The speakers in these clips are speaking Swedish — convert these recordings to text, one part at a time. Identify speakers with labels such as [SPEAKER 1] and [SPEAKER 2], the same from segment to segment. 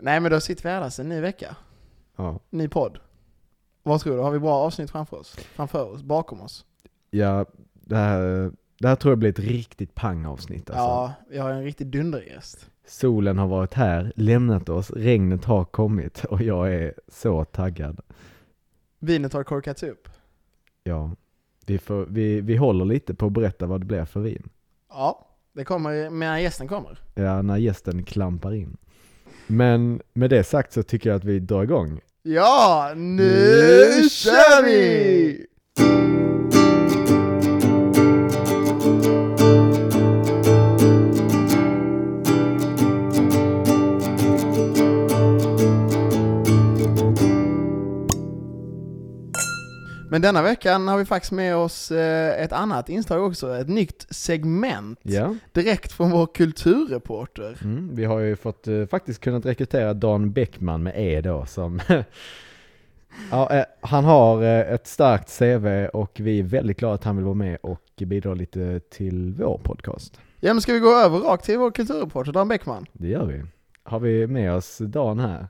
[SPEAKER 1] Nej men då sitter vi här alltså, en ny vecka,
[SPEAKER 2] Ja.
[SPEAKER 1] ny podd. Vad tror du, har vi bra avsnitt framför oss? Framför oss, bakom oss?
[SPEAKER 2] ja det, här, det här tror jag blir ett riktigt pangavsnitt alltså.
[SPEAKER 1] Ja, vi har en riktig dundergäst.
[SPEAKER 2] Solen har varit här, lämnat oss, regnet har kommit och jag är så taggad.
[SPEAKER 1] Vinet har korkats upp.
[SPEAKER 2] Ja. Vi, får, vi, vi håller lite på att berätta vad det blir för vin.
[SPEAKER 1] Ja, det kommer medan gästen kommer.
[SPEAKER 2] Ja, när gästen klampar in. Men med det sagt så tycker jag att vi drar igång.
[SPEAKER 1] Ja, nu kör vi! Men denna veckan har vi faktiskt med oss eh, ett annat inslag också, ett nytt segment
[SPEAKER 2] Ja,
[SPEAKER 1] direkt från vår kulturreporter.
[SPEAKER 2] mm, vi har ju fått eh, faktiskt kunnat rekrytera Dan Bäckman med E då som Ja, eh, han har eh, ett starkt CV och vi är väldigt glada att han vill vara med och bidra lite till vår podcast.
[SPEAKER 1] Ja men ska vi gå över rakt till vår kulturreporter Dan Bäckman?
[SPEAKER 2] Det gör vi. Har vi med oss Dan här?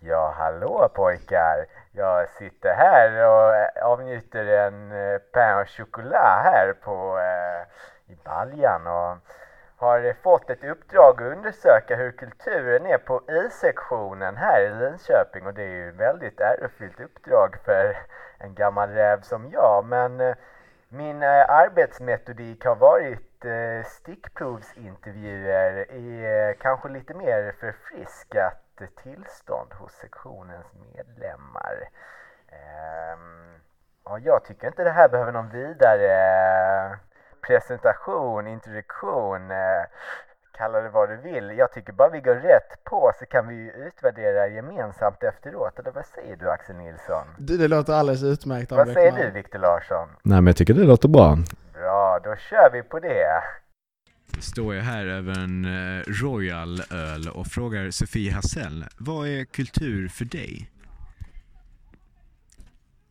[SPEAKER 3] Ja, hallå pojkar! Jag sitter här och eh, avnjuter en eh, pain au chocolat här på, eh, i baljan och har eh, fått ett uppdrag att undersöka hur kulturen är på I-sektionen här i Linköping och det är ju ett väldigt ärofyllt uppdrag för en gammal räv som jag men eh, min eh, arbetsmetodik har varit eh, stickprovsintervjuer i eh, kanske lite mer förfriskat tillstånd hos sektionens medlemmar. Ehm, ja, jag tycker inte det här behöver någon vidare eh, presentation, introduktion, eh, kalla det vad du vill. Jag tycker bara vi går rätt på så kan vi ju utvärdera gemensamt efteråt. Eller vad säger du Axel Nilsson?
[SPEAKER 1] Det, det låter alldeles utmärkt Dan
[SPEAKER 3] Vad
[SPEAKER 1] Bäckman.
[SPEAKER 3] säger du Viktor Larsson?
[SPEAKER 2] Nej men jag tycker det låter bra.
[SPEAKER 3] Bra, då kör vi på det.
[SPEAKER 4] står jag här över en eh, Royal öl och frågar Sofie Hassell, vad är kultur för dig?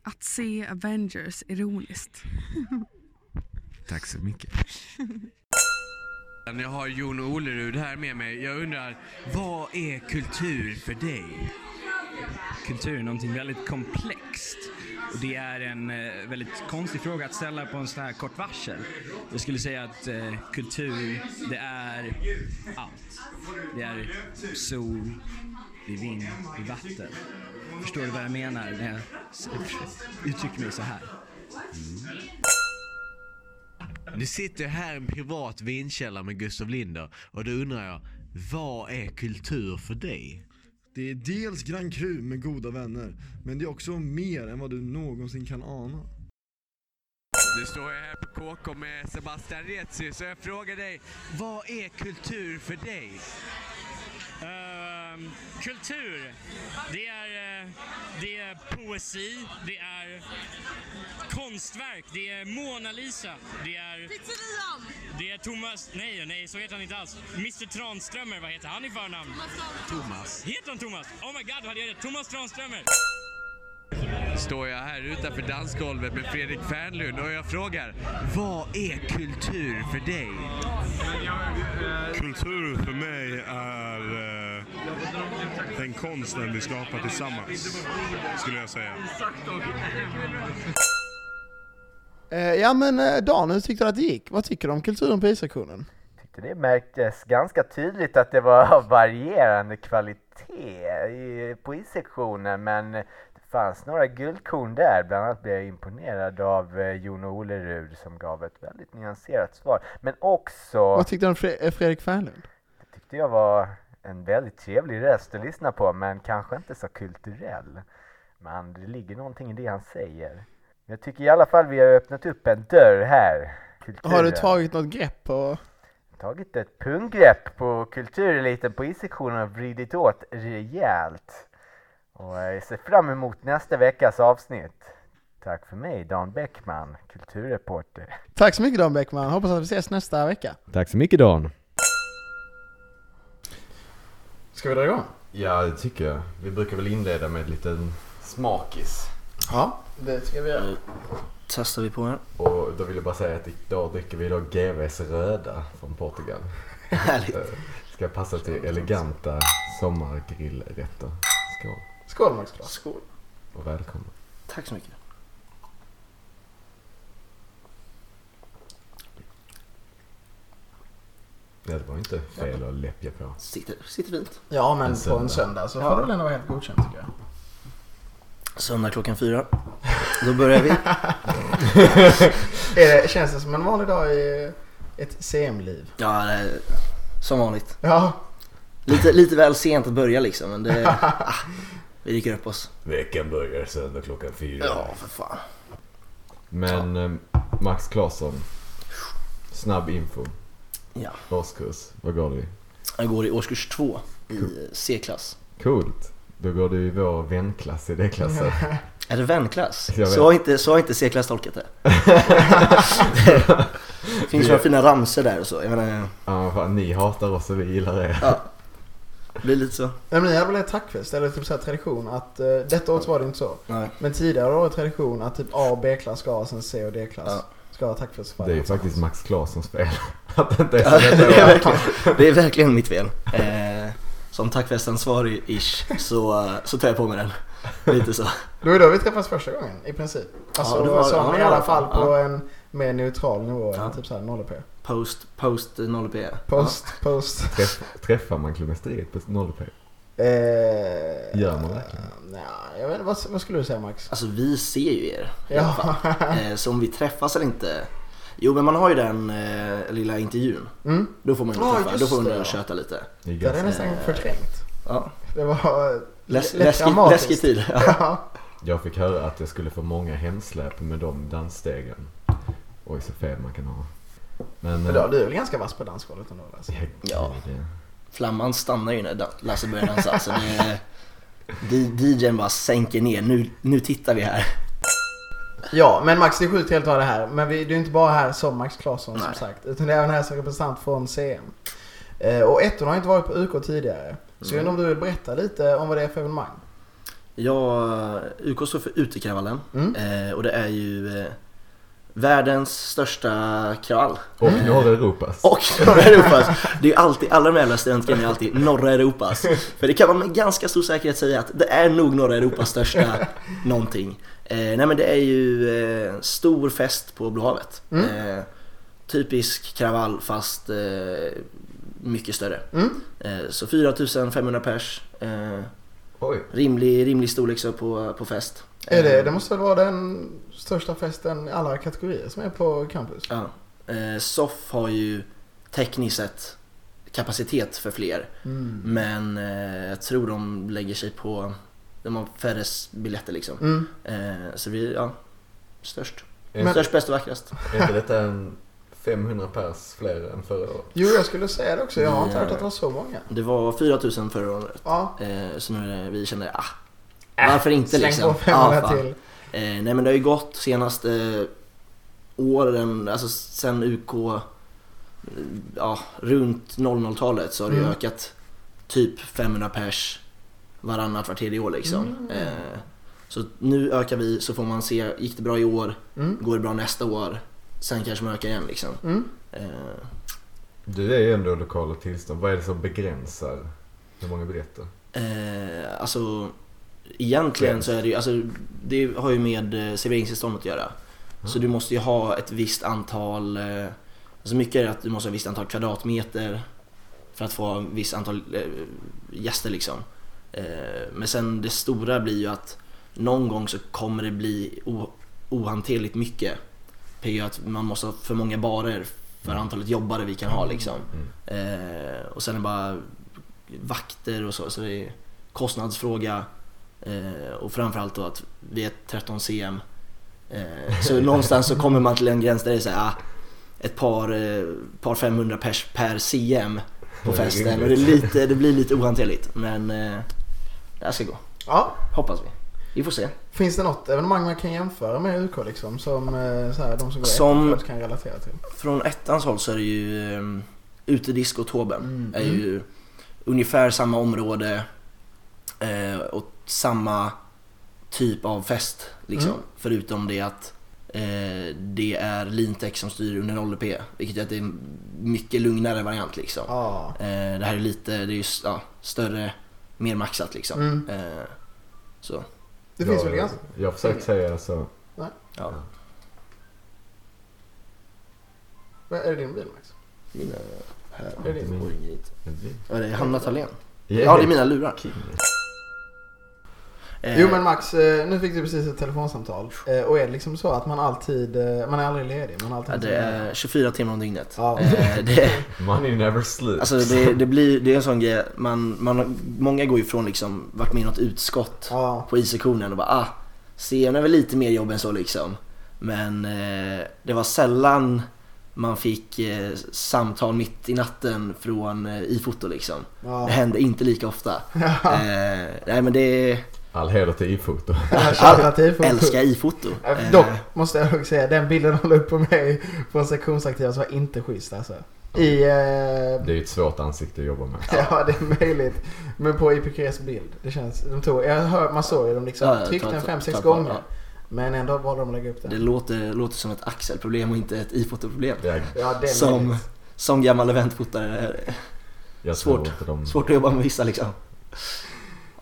[SPEAKER 5] Att se Avengers ironiskt.
[SPEAKER 4] Tack så mycket.
[SPEAKER 6] Jag har Jon Olerud här med mig. Jag undrar, vad är kultur för dig?
[SPEAKER 7] kultur någonting väldigt komplext. Och det är en eh, väldigt konstig fråga att ställa på en sån här kort varsel. Jag skulle säga att eh, kultur, det är allt. Det är sol, det är vind, det är vatten. Förstår du vad jag menar när jag s- uttrycker mig så här?
[SPEAKER 6] Nu sitter jag här i en privat vinkällare med Gustav Linder och då undrar jag, vad är kultur för dig?
[SPEAKER 8] Det är dels Grand Cru med goda vänner, men det är också mer än vad du någonsin kan ana.
[SPEAKER 6] Nu står jag här på KK med Sebastian Retsy så jag frågar dig, vad är kultur för dig?
[SPEAKER 9] Ehm, kultur. Det är, eh, det är poesi, det är konstverk, det är Mona Lisa, det är... Pizzerian! Det är Thomas... Nej, nej, så heter han inte alls. Mr Tranströmer, vad heter han i förnamn?
[SPEAKER 6] Thomas.
[SPEAKER 9] Heter han Thomas? Oh my god, hade jag rätt? Thomas Tranströmer!
[SPEAKER 6] Står jag här utanför dansgolvet med Fredrik Fernlund och jag frågar, vad är kultur för dig?
[SPEAKER 10] Kultur för mig är eh, den konsten vi skapar tillsammans, skulle jag säga.
[SPEAKER 1] Eh, ja men eh, Dan, hur tyckte du att det gick? Vad tycker du om kulturen på isaktionen?
[SPEAKER 3] tyckte det märktes ganska tydligt att det var av varierande kvalitet i poesisektionen men det fanns några guldkorn där. Bland annat blev jag imponerad av eh, Jon Olerud som gav ett väldigt nyanserat svar. Men också
[SPEAKER 1] Vad tyckte du om Fre- eh, Fredrik Fernlund?
[SPEAKER 3] tyckte jag var en väldigt trevlig röst att lyssna på men kanske inte så kulturell. Men det ligger någonting i det han säger. Jag tycker i alla fall vi har öppnat upp en dörr här.
[SPEAKER 1] Har du
[SPEAKER 3] Kulturen
[SPEAKER 1] tagit något grepp på...
[SPEAKER 3] tagit ett punggrepp på kultureliten på I-sektionen och vridit åt rejält. Och jag ser fram emot nästa veckas avsnitt. Tack för mig, Dan Bäckman, kulturreporter.
[SPEAKER 1] Tack så mycket Dan Bäckman, hoppas att vi ses nästa vecka.
[SPEAKER 2] Tack så mycket Dan.
[SPEAKER 1] Ska vi dra igång?
[SPEAKER 2] Ja det tycker jag. Vi brukar väl inleda med en liten smakis.
[SPEAKER 1] Ja, det ska vi göra.
[SPEAKER 11] testar vi på en.
[SPEAKER 2] Och då vill jag bara säga att idag dricker vi då GVs röda från Portugal.
[SPEAKER 11] Härligt.
[SPEAKER 2] Eh, Ska passa till eleganta sommargrillrätter. Skål
[SPEAKER 1] Skål Max Klass. Skål.
[SPEAKER 2] och välkommen.
[SPEAKER 1] Tack så mycket.
[SPEAKER 2] Ja, det var inte fel att läppja på.
[SPEAKER 1] Sitter, sitter fint. Ja, men på
[SPEAKER 2] En
[SPEAKER 1] en
[SPEAKER 2] söndag.
[SPEAKER 1] söndag så
[SPEAKER 2] Ja.
[SPEAKER 1] får det väl ändå vara helt godkänt tycker jag.
[SPEAKER 11] Söndag klockan fyra. Då börjar vi.
[SPEAKER 1] Är det, känns det som en vanlig dag i ett CM-liv?
[SPEAKER 11] Ja, det är som vanligt.
[SPEAKER 1] Ja.
[SPEAKER 11] Lite, lite väl sent att börja liksom, men det... ah, vi rycker upp oss.
[SPEAKER 2] Veckan börjar söndag klockan fyra.
[SPEAKER 11] Ja, för fan.
[SPEAKER 2] Men ehm, Max Claesson, snabb info.
[SPEAKER 11] Ja.
[SPEAKER 2] Årskurs, vad går du i?
[SPEAKER 11] Jag går i årskurs två i C-klass.
[SPEAKER 2] Coolt. Då går du i vår vänklass i det klassen.
[SPEAKER 11] Är det vänklass?
[SPEAKER 2] Jag vet.
[SPEAKER 11] Så har inte, så har inte C-klass tolkat det. det finns några fina ramsor där och så. Jag menar,
[SPEAKER 2] Ja, fan, ni hatar oss och vi gillar er.
[SPEAKER 11] Ja. det blir lite så.
[SPEAKER 1] Nej, men ni hade väl en tackfest eller typ så här tradition att eh, detta året var det inte så.
[SPEAKER 11] Nej.
[SPEAKER 1] Men tidigare var det tradition att typ A och B-klass ska ha sen C och D-klass ska ha tackfest. för
[SPEAKER 2] Det är ju
[SPEAKER 1] varandra.
[SPEAKER 2] faktiskt Max Claessons fel. Att det inte
[SPEAKER 11] Ja,
[SPEAKER 2] är så
[SPEAKER 11] det,
[SPEAKER 2] detta
[SPEAKER 11] är
[SPEAKER 2] år.
[SPEAKER 11] verkligen, det är verkligen mitt fel. Eh, som tackfestansvarig-ish så, eh, så tar jag på mig den. Lite så.
[SPEAKER 1] Det var ju då vi träffades första gången i princip. Alltså
[SPEAKER 11] Ja, det
[SPEAKER 1] det
[SPEAKER 11] var-
[SPEAKER 1] var, så,
[SPEAKER 11] ja, det
[SPEAKER 1] i
[SPEAKER 11] var-
[SPEAKER 1] alla fall på
[SPEAKER 11] ja.
[SPEAKER 1] en mer neutral nivå än typ såhär 0p.
[SPEAKER 11] Post, post 0P.
[SPEAKER 1] Post, post.
[SPEAKER 2] Träff, träffar man klimasteriet på 0p?
[SPEAKER 1] Eh,
[SPEAKER 2] Gör man verkligen?
[SPEAKER 1] nej, jag vet inte, vad, vad skulle du säga Max?
[SPEAKER 11] Alltså vi ser ju er i
[SPEAKER 1] Ja.
[SPEAKER 11] alla fall. Eh, så om vi träffas eller inte. Jo men man har ju den eh, lilla intervjun.
[SPEAKER 1] Mm.
[SPEAKER 11] Då får man ju
[SPEAKER 1] Ja,
[SPEAKER 11] träffa,
[SPEAKER 1] just
[SPEAKER 11] då får man
[SPEAKER 1] det,
[SPEAKER 11] ju
[SPEAKER 1] ja.
[SPEAKER 11] köta lite.
[SPEAKER 2] Det
[SPEAKER 1] Det är nästan
[SPEAKER 11] Eh,
[SPEAKER 1] förträngt.
[SPEAKER 11] Ja.
[SPEAKER 1] Det var eh,
[SPEAKER 11] Läs, typ.
[SPEAKER 1] lätt
[SPEAKER 11] läskig,
[SPEAKER 1] dramatiskt.
[SPEAKER 11] läskig tid.
[SPEAKER 1] Ja.
[SPEAKER 2] Jag fick höra att jag skulle få många hemsläp med de dansstegen. Oj, så fel man kan ha. Men... eh,
[SPEAKER 1] Men då, du är väl ganska vass på dansgolvet ändå? Alltså.
[SPEAKER 11] Ja. Flamman stannar ju när dan- Lasse börjar dansa. Alltså det, D- DJn bara sänker ner. Nu, nu tittar vi här.
[SPEAKER 1] Ja, men Max det är sjukt helt att ha det här. Men vi, du är inte bara här som Max Claesson som
[SPEAKER 11] Nej.
[SPEAKER 1] sagt. Utan det är även här som representant från CM. Eh, och ettorna har inte varit på UK tidigare. Så jag undrar om du vill berätta lite om vad det är för evenemang?
[SPEAKER 11] Ja, UK står för Utekravallen eh, och det är ju eh, världens största kravall.
[SPEAKER 2] Och norra Europas.
[SPEAKER 11] Och norra Europas! Det är ju alltid, alla de här jävla studentgrejerna är alltid norra Europas. För det kan man med ganska stor säkerhet säga att det är nog norra Europas största någonting. Eh, nej men det är ju eh, stor fest på Blå havet.
[SPEAKER 1] Mm.
[SPEAKER 11] Eh, typisk kravall fast eh, mycket större.
[SPEAKER 1] Mm.
[SPEAKER 11] Eh, så 4500 pers. Eh,
[SPEAKER 2] Oj.
[SPEAKER 11] Rimlig, rimlig storlek så på, på fest. Eh,
[SPEAKER 1] Är det, det måste väl vara den största festen i alla kategorier som är på campus?
[SPEAKER 11] Ja. Eh, SOF har ju tekniskt sett kapacitet för fler.
[SPEAKER 1] Mm.
[SPEAKER 11] Men eh, jag tror de lägger sig på, de har färre s- biljetter liksom.
[SPEAKER 1] Mm.
[SPEAKER 11] Eh, så vi, ja, störst.
[SPEAKER 2] Men-
[SPEAKER 11] Störst, bäst och vackrast.
[SPEAKER 2] Är inte detta en 500 pers fler än förra året?
[SPEAKER 1] Jo, jag skulle säga det också. Jag har inte
[SPEAKER 11] Ja.
[SPEAKER 1] hört att det var så många.
[SPEAKER 11] Det var 4000 förra året.
[SPEAKER 1] Ja.
[SPEAKER 11] Eh, så nu är det, vi kände, ah,
[SPEAKER 1] Äh,
[SPEAKER 11] varför inte
[SPEAKER 1] släng
[SPEAKER 11] liksom?
[SPEAKER 1] på 500
[SPEAKER 11] fan.
[SPEAKER 1] till.
[SPEAKER 11] Eh, nej men det har ju gått senaste eh, åren, alltså sen UK, eh, ja runt 00-talet så har det ju
[SPEAKER 1] Mm.
[SPEAKER 11] ökat typ 500 pers varannat, var tredje år liksom.
[SPEAKER 1] Mm.
[SPEAKER 11] Eh, så nu ökar vi så får man se, gick det bra i år,
[SPEAKER 1] Mm.
[SPEAKER 11] går det bra nästa år, sen kanske man ökar igen liksom.
[SPEAKER 1] Mm.
[SPEAKER 11] Eh,
[SPEAKER 2] Du är ju ändå lokala tillstånd. Vad är det som begränsar hur många biljetter?
[SPEAKER 11] Eh, alltså, egentligen så är det ju, alltså, det har ju med eh, serveringstillståndet att göra. Så du måste ju ha ett visst antal, eh, alltså mycket är att du måste ha ett visst antal kvadratmeter för att få ett visst antal eh, gäster liksom. Eh, men sen det stora blir ju att någon gång så kommer det bli o- ohanterligt mycket. PG att man måste ha för många barer för antalet jobbare vi kan ha liksom. Eh, och sen är det bara vakter och så, så det är kostnadsfråga. Eh, och framförallt då att vi är 13 CM. Eh, så någonstans så kommer man till en gräns där det är så här, ah, ett par, eh, par 500 pers per CM på
[SPEAKER 2] Det är
[SPEAKER 11] festen. Och det, är
[SPEAKER 2] rimligt.
[SPEAKER 11] lite, det blir lite ohanterligt. Men eh, det här ska gå.
[SPEAKER 1] Ja.
[SPEAKER 11] Hoppas vi. Vi får se.
[SPEAKER 1] Finns det något evenemang man kan jämföra med UK liksom? Som eh, så här, de som går
[SPEAKER 11] Som-
[SPEAKER 1] som... Ett, kan relatera till?
[SPEAKER 11] Från ettans håll så är det ju um, utedisk och Tåben.
[SPEAKER 1] Mm.
[SPEAKER 11] är ju ungefär samma område eh, och samma typ av fest. Liksom.
[SPEAKER 1] Mm.
[SPEAKER 11] Förutom det att eh, Eh, det är Lintex som styr under 0p, vilket gör att det är en mycket lugnare variant. Liksom.
[SPEAKER 1] Ja.
[SPEAKER 11] Eh, det här är lite det är ju, s- ja, större, mer maxat liksom.
[SPEAKER 1] Mm.
[SPEAKER 11] Eh, så.
[SPEAKER 1] Det finns väl ganska...
[SPEAKER 12] Jag har försökt säga så.
[SPEAKER 1] Nej.
[SPEAKER 11] Ja.
[SPEAKER 1] Vad är det din bil Max?
[SPEAKER 11] Mina här.
[SPEAKER 1] Är det din?
[SPEAKER 11] Ja, det är Hanna Thalén.
[SPEAKER 12] Yeah.
[SPEAKER 11] Ja, det är mina lurar. Eh,
[SPEAKER 1] Jo men Max, eh, nu fick du precis ett telefonsamtal. Eh, Och är det liksom så att man alltid, eh, man är aldrig ledig? Man är alltid
[SPEAKER 11] Ja, det är 24 timmar om dygnet.
[SPEAKER 1] Ja.
[SPEAKER 11] Eh, det,
[SPEAKER 12] Money never sleeps.
[SPEAKER 11] alltså det, det, blir, det är en sån grej, man, man, många går ifrån liksom, varit med i något utskott på IC-konen och bara ah, CM är väl lite mer jobb än så liksom. Men eh, det var sällan man fick eh, samtal mitt i natten från eh, iFoto liksom.
[SPEAKER 1] Ja.
[SPEAKER 11] Det hände inte lika ofta. Eh, nej men det...
[SPEAKER 12] All heder till ifoto.
[SPEAKER 1] Alternativ
[SPEAKER 11] Älskar iFoto.
[SPEAKER 1] Eh, Dock måste jag dock säga, den bilden de la upp på mig från sektionsaktiva så var inte schysst alltså. I, eh,
[SPEAKER 12] Det är ju ett svårt ansikte att jobba med.
[SPEAKER 1] ja det är möjligt. Men på IPKs bild. Det känns, de tog, jag hör, man såg ju de liksom
[SPEAKER 11] Ja, ja,
[SPEAKER 1] tryckte
[SPEAKER 11] ta-
[SPEAKER 1] den
[SPEAKER 11] ta-
[SPEAKER 1] fem sex
[SPEAKER 11] ta på,
[SPEAKER 1] gånger.
[SPEAKER 11] ja.
[SPEAKER 1] Men ändå valde de att lägga upp den.
[SPEAKER 11] Det låter, låter som ett axelproblem och inte ett ifotoproblem.
[SPEAKER 1] Ja, det är
[SPEAKER 11] som,
[SPEAKER 1] möjligt.
[SPEAKER 11] som gammal eventfotare är det
[SPEAKER 12] Jag tror
[SPEAKER 11] svårt,
[SPEAKER 12] inte de-
[SPEAKER 2] Mm.
[SPEAKER 11] svårt att jobba med vissa liksom.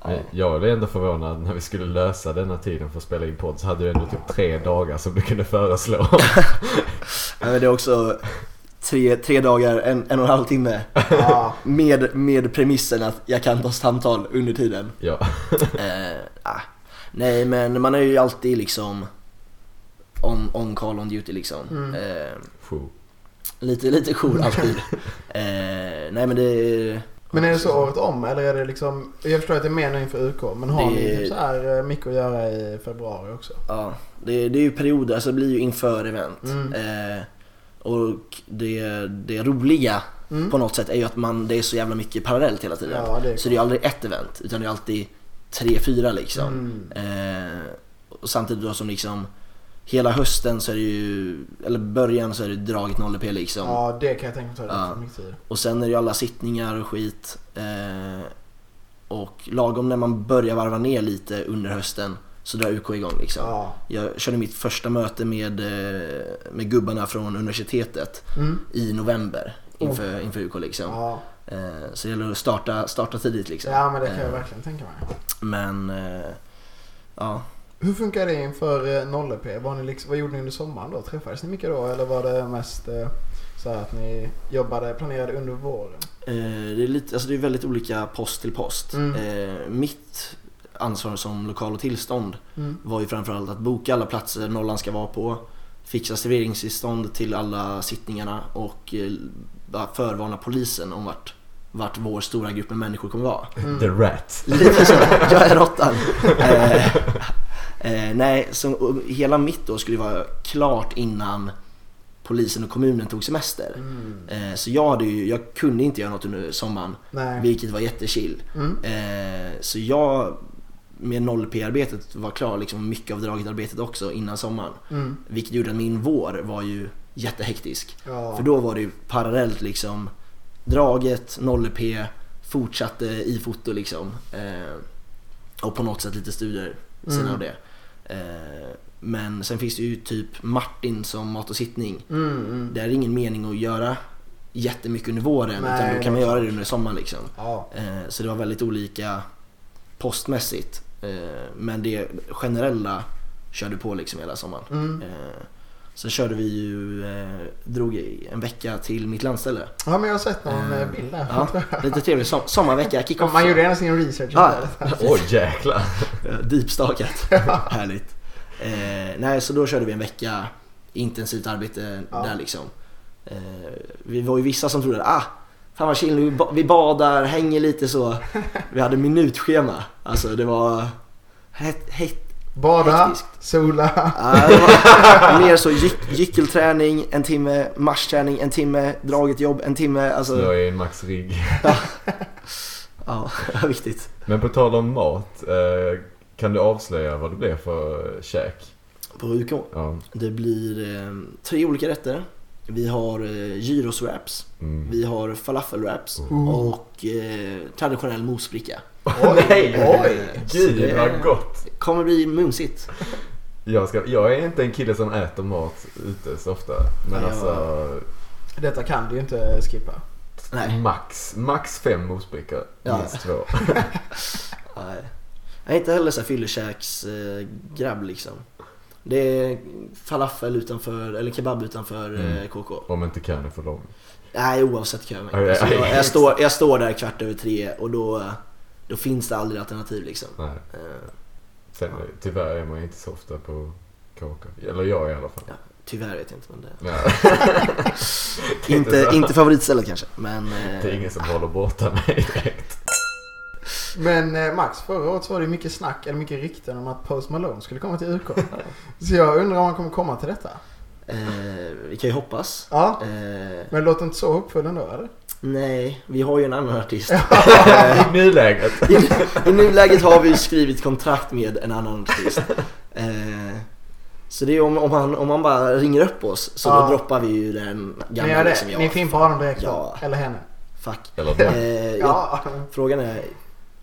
[SPEAKER 12] Men Jag blev ändå förvånad när vi skulle lösa denna tiden för att spela in podd så hade du ändå typ tre dagar som du kunde föreslå.
[SPEAKER 11] Ja, men det är också tre, tre dagar, en, en och en halv timme. med, med premissen att jag kan ta samtal under tiden.
[SPEAKER 12] Ja.
[SPEAKER 11] eh, ah. Nej men man är ju alltid liksom on, on call on duty liksom.
[SPEAKER 12] Mm.
[SPEAKER 11] Eh,
[SPEAKER 12] Jour.
[SPEAKER 11] lite, lite jour alltid. eh, nej men det...
[SPEAKER 1] Men är det så året om eller är det liksom, jag förstår att det är mer nu inför UK men har
[SPEAKER 11] Det-
[SPEAKER 1] ni typ så här eh, mycket att göra i februari också?
[SPEAKER 11] Ja, det, det är ju perioder, alltså det blir ju inför event.
[SPEAKER 1] Mm.
[SPEAKER 11] Eh, och det, det roliga
[SPEAKER 1] Mm.
[SPEAKER 11] på något sätt är ju att man, det är så jävla mycket parallellt hela tiden.
[SPEAKER 1] Ja, det är
[SPEAKER 11] så det är ju aldrig ett event, utan det är alltid tre, fyra liksom.
[SPEAKER 1] Mm.
[SPEAKER 11] Eh, och samtidigt då som liksom Hela hösten så är det ju, eller början så är det draget 0p liksom.
[SPEAKER 1] Ja det kan jag tänka mig ta det
[SPEAKER 11] Ja.
[SPEAKER 1] för mycket tid.
[SPEAKER 11] Och sen är det ju alla sittningar och skit. Eh, och lagom när man börjar varva ner lite under hösten så drar UK igång liksom.
[SPEAKER 1] Ja.
[SPEAKER 11] Jag körde mitt första möte med, eh, med gubbarna från universitetet
[SPEAKER 1] Mm.
[SPEAKER 11] i november inför, inför UK liksom.
[SPEAKER 1] Oh. Ja.
[SPEAKER 11] Eh, så det gäller att starta, starta tidigt liksom.
[SPEAKER 1] Ja men det kan jag
[SPEAKER 11] Eh,
[SPEAKER 1] verkligen tänka mig.
[SPEAKER 11] Men, eh, ja.
[SPEAKER 1] Hur funkar det inför eh, 0P? Var ni liksom, vad gjorde ni under sommaren då? Träffades ni mycket då eller var det mest eh, så här att ni jobbade, planerade under våren?
[SPEAKER 11] Eh, Det är, lite, alltså det är väldigt olika post till post.
[SPEAKER 1] Mm.
[SPEAKER 11] Eh, Mitt ansvar som lokal och tillstånd
[SPEAKER 1] Mm.
[SPEAKER 11] var ju framförallt att boka alla platser Nollan ska vara på, fixa serveringstillstånd till alla sittningarna och eh, bara förvarna polisen om vart, vart vår stora grupp med människor kommer vara.
[SPEAKER 12] Mm. The rat.
[SPEAKER 11] Lite så, jag är råttan. Eh, eh, nej, så, och hela mitt år skulle ju vara klart innan polisen och kommunen tog semester.
[SPEAKER 1] Mm.
[SPEAKER 11] Eh, Så jag, hade ju, jag kunde inte göra något under sommaren,
[SPEAKER 1] Nej.
[SPEAKER 11] vilket var jättechill.
[SPEAKER 1] Mm.
[SPEAKER 11] Eh, Så jag med 0P-arbetet var klar, liksom mycket av draget-arbetet också innan sommaren.
[SPEAKER 1] Mm.
[SPEAKER 11] Vilket gjorde att min vår var ju jättehektisk.
[SPEAKER 1] Ja.
[SPEAKER 11] För då var det ju parallellt liksom draget, 0P, fortsatte i foto liksom. Eh, och på något sätt lite studier vid sidan
[SPEAKER 1] Mm.
[SPEAKER 11] av det. Eh, men sen finns det ju typ Martin som mat och sittning.
[SPEAKER 1] Mm, mm.
[SPEAKER 11] Det är ingen mening att göra jättemycket under våren
[SPEAKER 1] Nej,
[SPEAKER 11] utan då kan man
[SPEAKER 1] det är
[SPEAKER 11] göra det under sommaren liksom.
[SPEAKER 1] Ja.
[SPEAKER 11] Eh, så det var väldigt olika postmässigt. Eh, men det generella körde på liksom hela sommaren.
[SPEAKER 1] Mm.
[SPEAKER 11] Eh, sen körde vi ju, eh, drog i en vecka till mitt landställe.
[SPEAKER 1] Ja men jag har sett någon eh, bild där.
[SPEAKER 11] Ja, lite trevlig som, sommarvecka, kick-off.
[SPEAKER 1] Man gjorde gärna sin research.
[SPEAKER 11] Ah, Ja.
[SPEAKER 12] Åh jäklar.
[SPEAKER 11] Deepstakat. Härligt. Eh, nej, så då körde vi en vecka intensivt arbete där liksom. Eh, vi var ju vissa som trodde ah, fan vad chill, vi, ba- vi badar, hänger lite så. Vi hade minutschema. Alltså det var hett, hett,
[SPEAKER 1] Bada, sola.
[SPEAKER 11] Ja, ah, det var mer så gyck- gyckelträning en timme, marschträning en timme, draget jobb en timme. Alltså,
[SPEAKER 12] Snöa in Max rigg.
[SPEAKER 11] ja, viktigt.
[SPEAKER 12] Men på tal om mat. eh, Kan du avslöja vad det blev för käk?
[SPEAKER 11] På UK?
[SPEAKER 12] Ja.
[SPEAKER 11] Det blir eh, tre olika rätter. Vi har eh, gyros wraps,
[SPEAKER 12] Mm.
[SPEAKER 11] vi har falafel wraps
[SPEAKER 12] Mm.
[SPEAKER 11] och eh, traditionell mosbricka.
[SPEAKER 12] Oj,
[SPEAKER 11] Eh,
[SPEAKER 12] oj,
[SPEAKER 11] så
[SPEAKER 12] gud,
[SPEAKER 11] det
[SPEAKER 12] vad gott.
[SPEAKER 11] kommer bli mumsigt.
[SPEAKER 12] Jag, ska, jag är inte en kille som äter mat ute så ofta. Men
[SPEAKER 1] Nej,
[SPEAKER 12] alltså...
[SPEAKER 1] Detta kan du ju inte skippa.
[SPEAKER 12] Max, max fem mosbrickor.
[SPEAKER 11] Ja.
[SPEAKER 12] Minst två.
[SPEAKER 11] Nej. Jag är inte heller så här fyllekäksgrabb liksom. Det är falafel utanför, eller kebab utanför eh,
[SPEAKER 12] Mm.
[SPEAKER 11] KK.
[SPEAKER 12] Om inte kön är för lång.
[SPEAKER 11] Nej, oavsett kön.
[SPEAKER 12] Aj, aj,
[SPEAKER 11] Alltså, jag,
[SPEAKER 12] aj.
[SPEAKER 11] jag, står, jag står där kvart över tre och då, då finns det aldrig alternativ liksom.
[SPEAKER 12] Nej.
[SPEAKER 11] Eh,
[SPEAKER 12] Sen, Tyvärr är man ju inte så ofta på kaka. Eller jag i alla fall.
[SPEAKER 11] Tyvärr vet jag inte men det...
[SPEAKER 12] Ja. Det är
[SPEAKER 11] inte,
[SPEAKER 12] så.
[SPEAKER 11] inte favoritstället kanske, men... eh,
[SPEAKER 12] Det är ingen som håller borta mig direkt.
[SPEAKER 1] Men eh, Max, förra året så var det mycket snack, eller mycket rykten om att Post Malone skulle komma till UK. så jag undrar om han kommer komma till detta.
[SPEAKER 11] eh, vi kan ju hoppas.
[SPEAKER 1] Ja.
[SPEAKER 11] Eh,
[SPEAKER 1] Men låt inte så hoppfull ändå eller?
[SPEAKER 11] nej, vi har ju en annan artist.
[SPEAKER 12] I nuläget.
[SPEAKER 11] I, I nuläget har vi ju skrivit kontrakt med en annan artist. Eh, så det är om, om, han, om han bara ringer upp oss så
[SPEAKER 1] Ja.
[SPEAKER 11] då droppar vi ju den
[SPEAKER 1] Ni gör
[SPEAKER 11] gamla
[SPEAKER 1] det,
[SPEAKER 11] liksom jag.
[SPEAKER 1] ni är fin på honom direkt
[SPEAKER 11] Ja.
[SPEAKER 1] Eller henne.
[SPEAKER 11] Fuck.
[SPEAKER 12] Eller dem.
[SPEAKER 11] Eh,
[SPEAKER 1] Ja.
[SPEAKER 11] jag, frågan är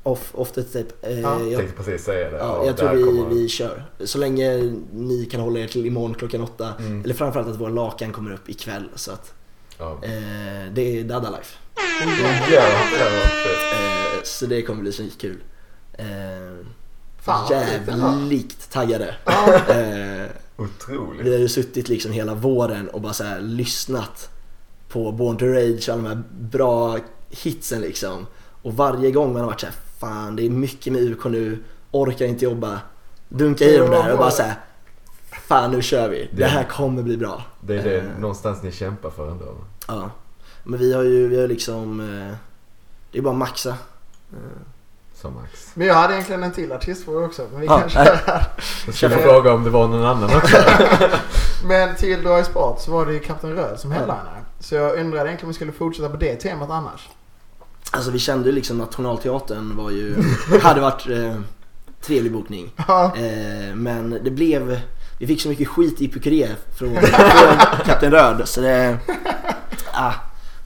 [SPEAKER 11] off, off the tape. Eh,
[SPEAKER 1] Ja.
[SPEAKER 12] Jag
[SPEAKER 11] jag,
[SPEAKER 12] tänkte precis säga det.
[SPEAKER 11] ja,
[SPEAKER 12] Och
[SPEAKER 11] jag
[SPEAKER 12] där
[SPEAKER 11] tror vi,
[SPEAKER 12] kommer-
[SPEAKER 11] vi kör. Så länge ni kan hålla er till imorgon klockan åtta.
[SPEAKER 12] Mm.
[SPEAKER 11] Eller framförallt att vår lakan kommer upp ikväll. Så att,
[SPEAKER 12] Ja.
[SPEAKER 11] eh, det är Dada Life.
[SPEAKER 12] Jävlar vad fett.
[SPEAKER 11] Eh, så det kommer bli så kul. Eh,
[SPEAKER 1] Fan, vad fint det var.
[SPEAKER 11] jävligt taggade. Eh,
[SPEAKER 12] Otroligt.
[SPEAKER 11] vi har ju suttit liksom hela våren och bara så här lyssnat på Born to Rage och alla de här bra hitsen liksom. Och varje gång man har varit så här, fan det är mycket med UK nu, orkar inte jobba. Dunka i dem där och bara så här, fan nu kör vi. Det här kommer bli bra.
[SPEAKER 12] Det är det
[SPEAKER 11] Eh,
[SPEAKER 12] någonstans ni kämpar för ändå.
[SPEAKER 11] Ja. Men vi har ju, vi har liksom, eh, det är bara att maxa. Eh,
[SPEAKER 12] Som Max.
[SPEAKER 1] Men jag hade egentligen en till artistfråga också. Men vi
[SPEAKER 11] Ja,
[SPEAKER 1] kanske
[SPEAKER 11] nej.
[SPEAKER 12] Jag skulle fråga om det var någon annan också.
[SPEAKER 1] Men till Dry Sport så var det ju Kapten Röd som headliner. Så jag undrade egentligen om vi skulle fortsätta på det temat annars.
[SPEAKER 11] Alltså vi kände ju liksom att Nationalteatern var ju, hade varit eh, trevlig bokning. Eh, men det blev, vi fick så mycket skit i Pukeré från, från Kapten Röd så det, ah,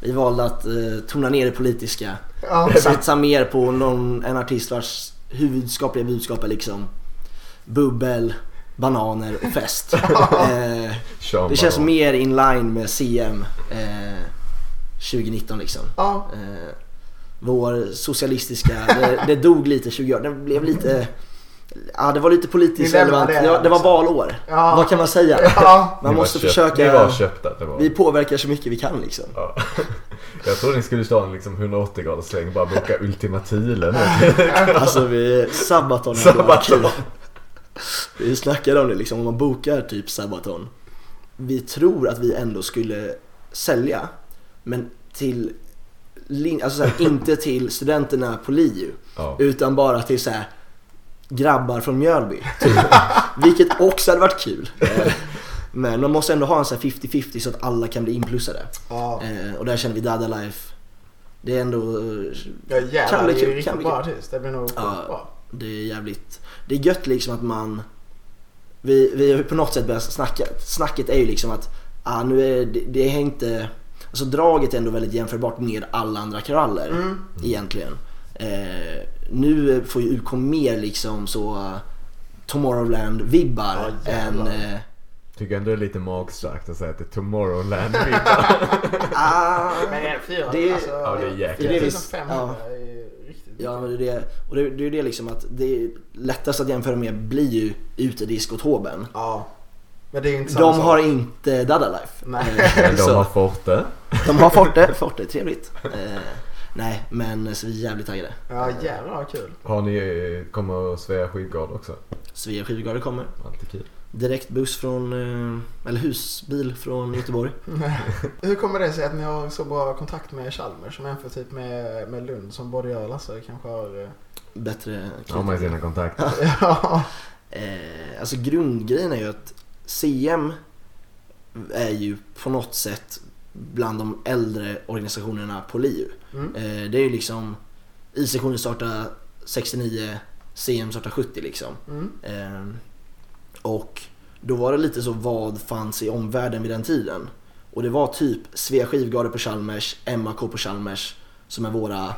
[SPEAKER 11] vi valde att eh, tona ner det politiska.
[SPEAKER 1] Ja.
[SPEAKER 11] Satsa mer på någon, en artist vars huvudskapliga budskap är liksom bubbel, bananer och fest. Eh,
[SPEAKER 12] Sean
[SPEAKER 11] det känns
[SPEAKER 12] Banan.
[SPEAKER 11] mer in line med CM eh, 2019 liksom.
[SPEAKER 1] Ja.
[SPEAKER 11] Eh, vår socialistiska, det, det dog lite 20 år. Det blev lite, ja det var lite politiskt
[SPEAKER 1] Ni lämnar
[SPEAKER 11] relevant.
[SPEAKER 1] det,
[SPEAKER 11] Det, var- det var
[SPEAKER 1] liksom.
[SPEAKER 11] valår.
[SPEAKER 1] Ja.
[SPEAKER 11] Vad kan man säga?
[SPEAKER 1] Ja.
[SPEAKER 11] Man
[SPEAKER 12] Ni var
[SPEAKER 11] måste
[SPEAKER 12] köpt-
[SPEAKER 11] försöka.
[SPEAKER 12] ni var köpta, det var-
[SPEAKER 11] Vi påverkar så mycket vi kan liksom.
[SPEAKER 12] Jag trodde ni skulle ta en liksom 180 graders sväng och bara boka Ultima Thule nu.
[SPEAKER 11] Alltså vi, Sabaton hade varit
[SPEAKER 12] Sabaton.
[SPEAKER 11] kul. Vi snackade om det liksom, om man bokar typ Sabaton. Vi tror att vi ändå skulle sälja. Men till, lin- alltså så här, inte till studenterna på LiU.
[SPEAKER 12] Ja.
[SPEAKER 11] Utan bara till så här grabbar från Mjölby. Typ. Vilket också hade varit kul. Eh, Men man måste ändå ha en så här 50-50 så att alla kan bli inplussade.
[SPEAKER 1] Ja.
[SPEAKER 11] Eh, Och där känner vi Dada Life. Det är ändå... eh,
[SPEAKER 1] Ja jävlar,
[SPEAKER 11] bli
[SPEAKER 1] det är
[SPEAKER 11] kul,
[SPEAKER 1] ju riktigt
[SPEAKER 11] bli
[SPEAKER 1] bra
[SPEAKER 11] kul.
[SPEAKER 1] artist. Det blir nog sjukt
[SPEAKER 11] Ja,
[SPEAKER 1] bra.
[SPEAKER 11] det är jävligt... Det är gött liksom att man... Vi, vi har ju på något sätt börjat snacka. Snacket är ju liksom att ah, nu är det, det är inte... Alltså draget är ändå väldigt jämförbart med alla andra kraller
[SPEAKER 1] Mm.
[SPEAKER 11] egentligen. Eh, nu får ju UK mer liksom så eh, Tomorrowland-vibbar
[SPEAKER 1] Ja,
[SPEAKER 11] än...
[SPEAKER 1] jävlar.
[SPEAKER 11] Eh,
[SPEAKER 12] Tycker ändå det är lite magstarkt att säga att det är Tomorrowland vi
[SPEAKER 11] ah,
[SPEAKER 1] Men är det fyra?
[SPEAKER 11] Det är-
[SPEAKER 1] alltså,
[SPEAKER 12] Ja, det är jäkligt.
[SPEAKER 1] 4500
[SPEAKER 11] Ja.
[SPEAKER 1] är ju riktigt
[SPEAKER 11] Ja, men det är det. Och det, det är ju det liksom att det lättaste att jämföra med blir ju utediskotoben.
[SPEAKER 1] Ja. Men det är ju inte samma
[SPEAKER 11] De
[SPEAKER 1] sak.
[SPEAKER 11] har inte Dada Life.
[SPEAKER 1] Liksom Nej.
[SPEAKER 11] Eh,
[SPEAKER 12] Men de
[SPEAKER 11] så-
[SPEAKER 12] har Forte.
[SPEAKER 11] de har Forte. Forte, är trevligt. Eh, nej, men så vi är jävligt taggade.
[SPEAKER 1] Ja jävlar vad kul.
[SPEAKER 12] Har ni, eh, kommer Svea Skyddgard också?
[SPEAKER 11] Svea skivgarde kommer.
[SPEAKER 12] Alltid kul.
[SPEAKER 11] Direkt buss från, eh, eller husbil från Göteborg.
[SPEAKER 1] Hur kommer det sig att ni har så bra kontakt med Chalmers som jämför typ med, med Lund som både jag och Lasse kanske har... eh,
[SPEAKER 11] Bättre
[SPEAKER 12] Har man ju sina kontakter.
[SPEAKER 1] Ja.
[SPEAKER 11] Eh, alltså grundgrejen är ju att CM är ju på något sätt bland de äldre organisationerna på LiU.
[SPEAKER 1] Mm.
[SPEAKER 11] Eh, det är ju liksom I-sektionen startade 69, CM startade 70 liksom.
[SPEAKER 1] Mm.
[SPEAKER 11] Eh, och då var det lite så vad fanns i omvärlden vid den tiden? Och det var typ Svea Skivgarde på Chalmers, MAK på Chalmers som är våra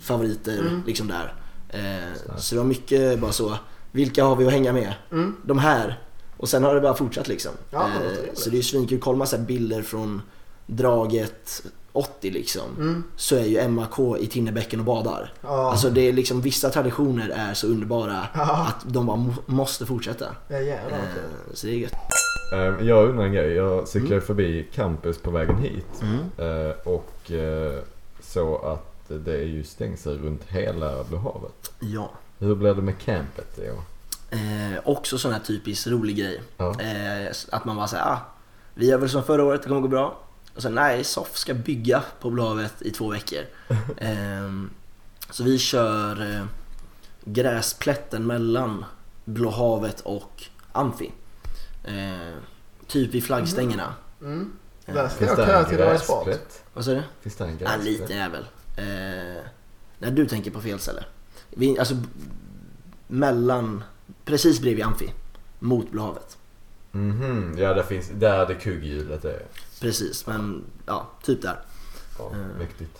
[SPEAKER 11] favoriter
[SPEAKER 1] Mm.
[SPEAKER 11] liksom där. Eh,
[SPEAKER 12] Starkt.
[SPEAKER 11] så det var mycket bara så, vilka har vi att hänga med?
[SPEAKER 1] Mm.
[SPEAKER 11] De här. Och sen har det bara fortsatt liksom.
[SPEAKER 1] Ja, men det
[SPEAKER 11] Eh,
[SPEAKER 1] låter trevligt.
[SPEAKER 11] så det är ju svinkul. Kollar man så här bilder från draget 80 liksom.
[SPEAKER 1] Mm.
[SPEAKER 11] Så är ju MAK i Tinnebäcken och badar.
[SPEAKER 1] Ja.
[SPEAKER 11] Alltså det är liksom, vissa traditioner är så underbara
[SPEAKER 1] Ja.
[SPEAKER 11] att de bara må- måste fortsätta.
[SPEAKER 1] Ja, jävlar vad kul.
[SPEAKER 11] Eh, Så det är gött.
[SPEAKER 12] Eh, Jag undrar en grej. Jag cyklade
[SPEAKER 11] Mm.
[SPEAKER 12] förbi campus på vägen hit. eh, Och eh, så att det är ju stängsel runt hela Blå havet.
[SPEAKER 11] Ja.
[SPEAKER 12] Hur blir det med campet i år?
[SPEAKER 11] Eh, också sån här typisk rolig grej.
[SPEAKER 12] Ja.
[SPEAKER 11] Eh, s- att man bara säger ah, vi gör väl som förra året, det kommer gå bra. Och sen nej, SOF ska bygga på Blåvet i två veckor. Ehm, så vi kör eh, gräsplätten mellan Blå havet och Amfi. Eh, typ vid flaggstängerna.
[SPEAKER 1] Mm.
[SPEAKER 11] Eh,
[SPEAKER 1] Där ska jag köa till det var spart.
[SPEAKER 11] Vad sa du?
[SPEAKER 12] Finns det en
[SPEAKER 11] Ja, en
[SPEAKER 12] gräsplätt?
[SPEAKER 11] liten jävel. Eh, nej, du tänker på fel ställe. Vi, alltså, b- mellan, precis bredvid Amfi. Mot Blå havet.
[SPEAKER 12] Mhm, ja där finns, där det kugghjulet är.
[SPEAKER 11] Precis, men ja, typ där.
[SPEAKER 12] Ja,
[SPEAKER 11] Eh,
[SPEAKER 12] mäktigt.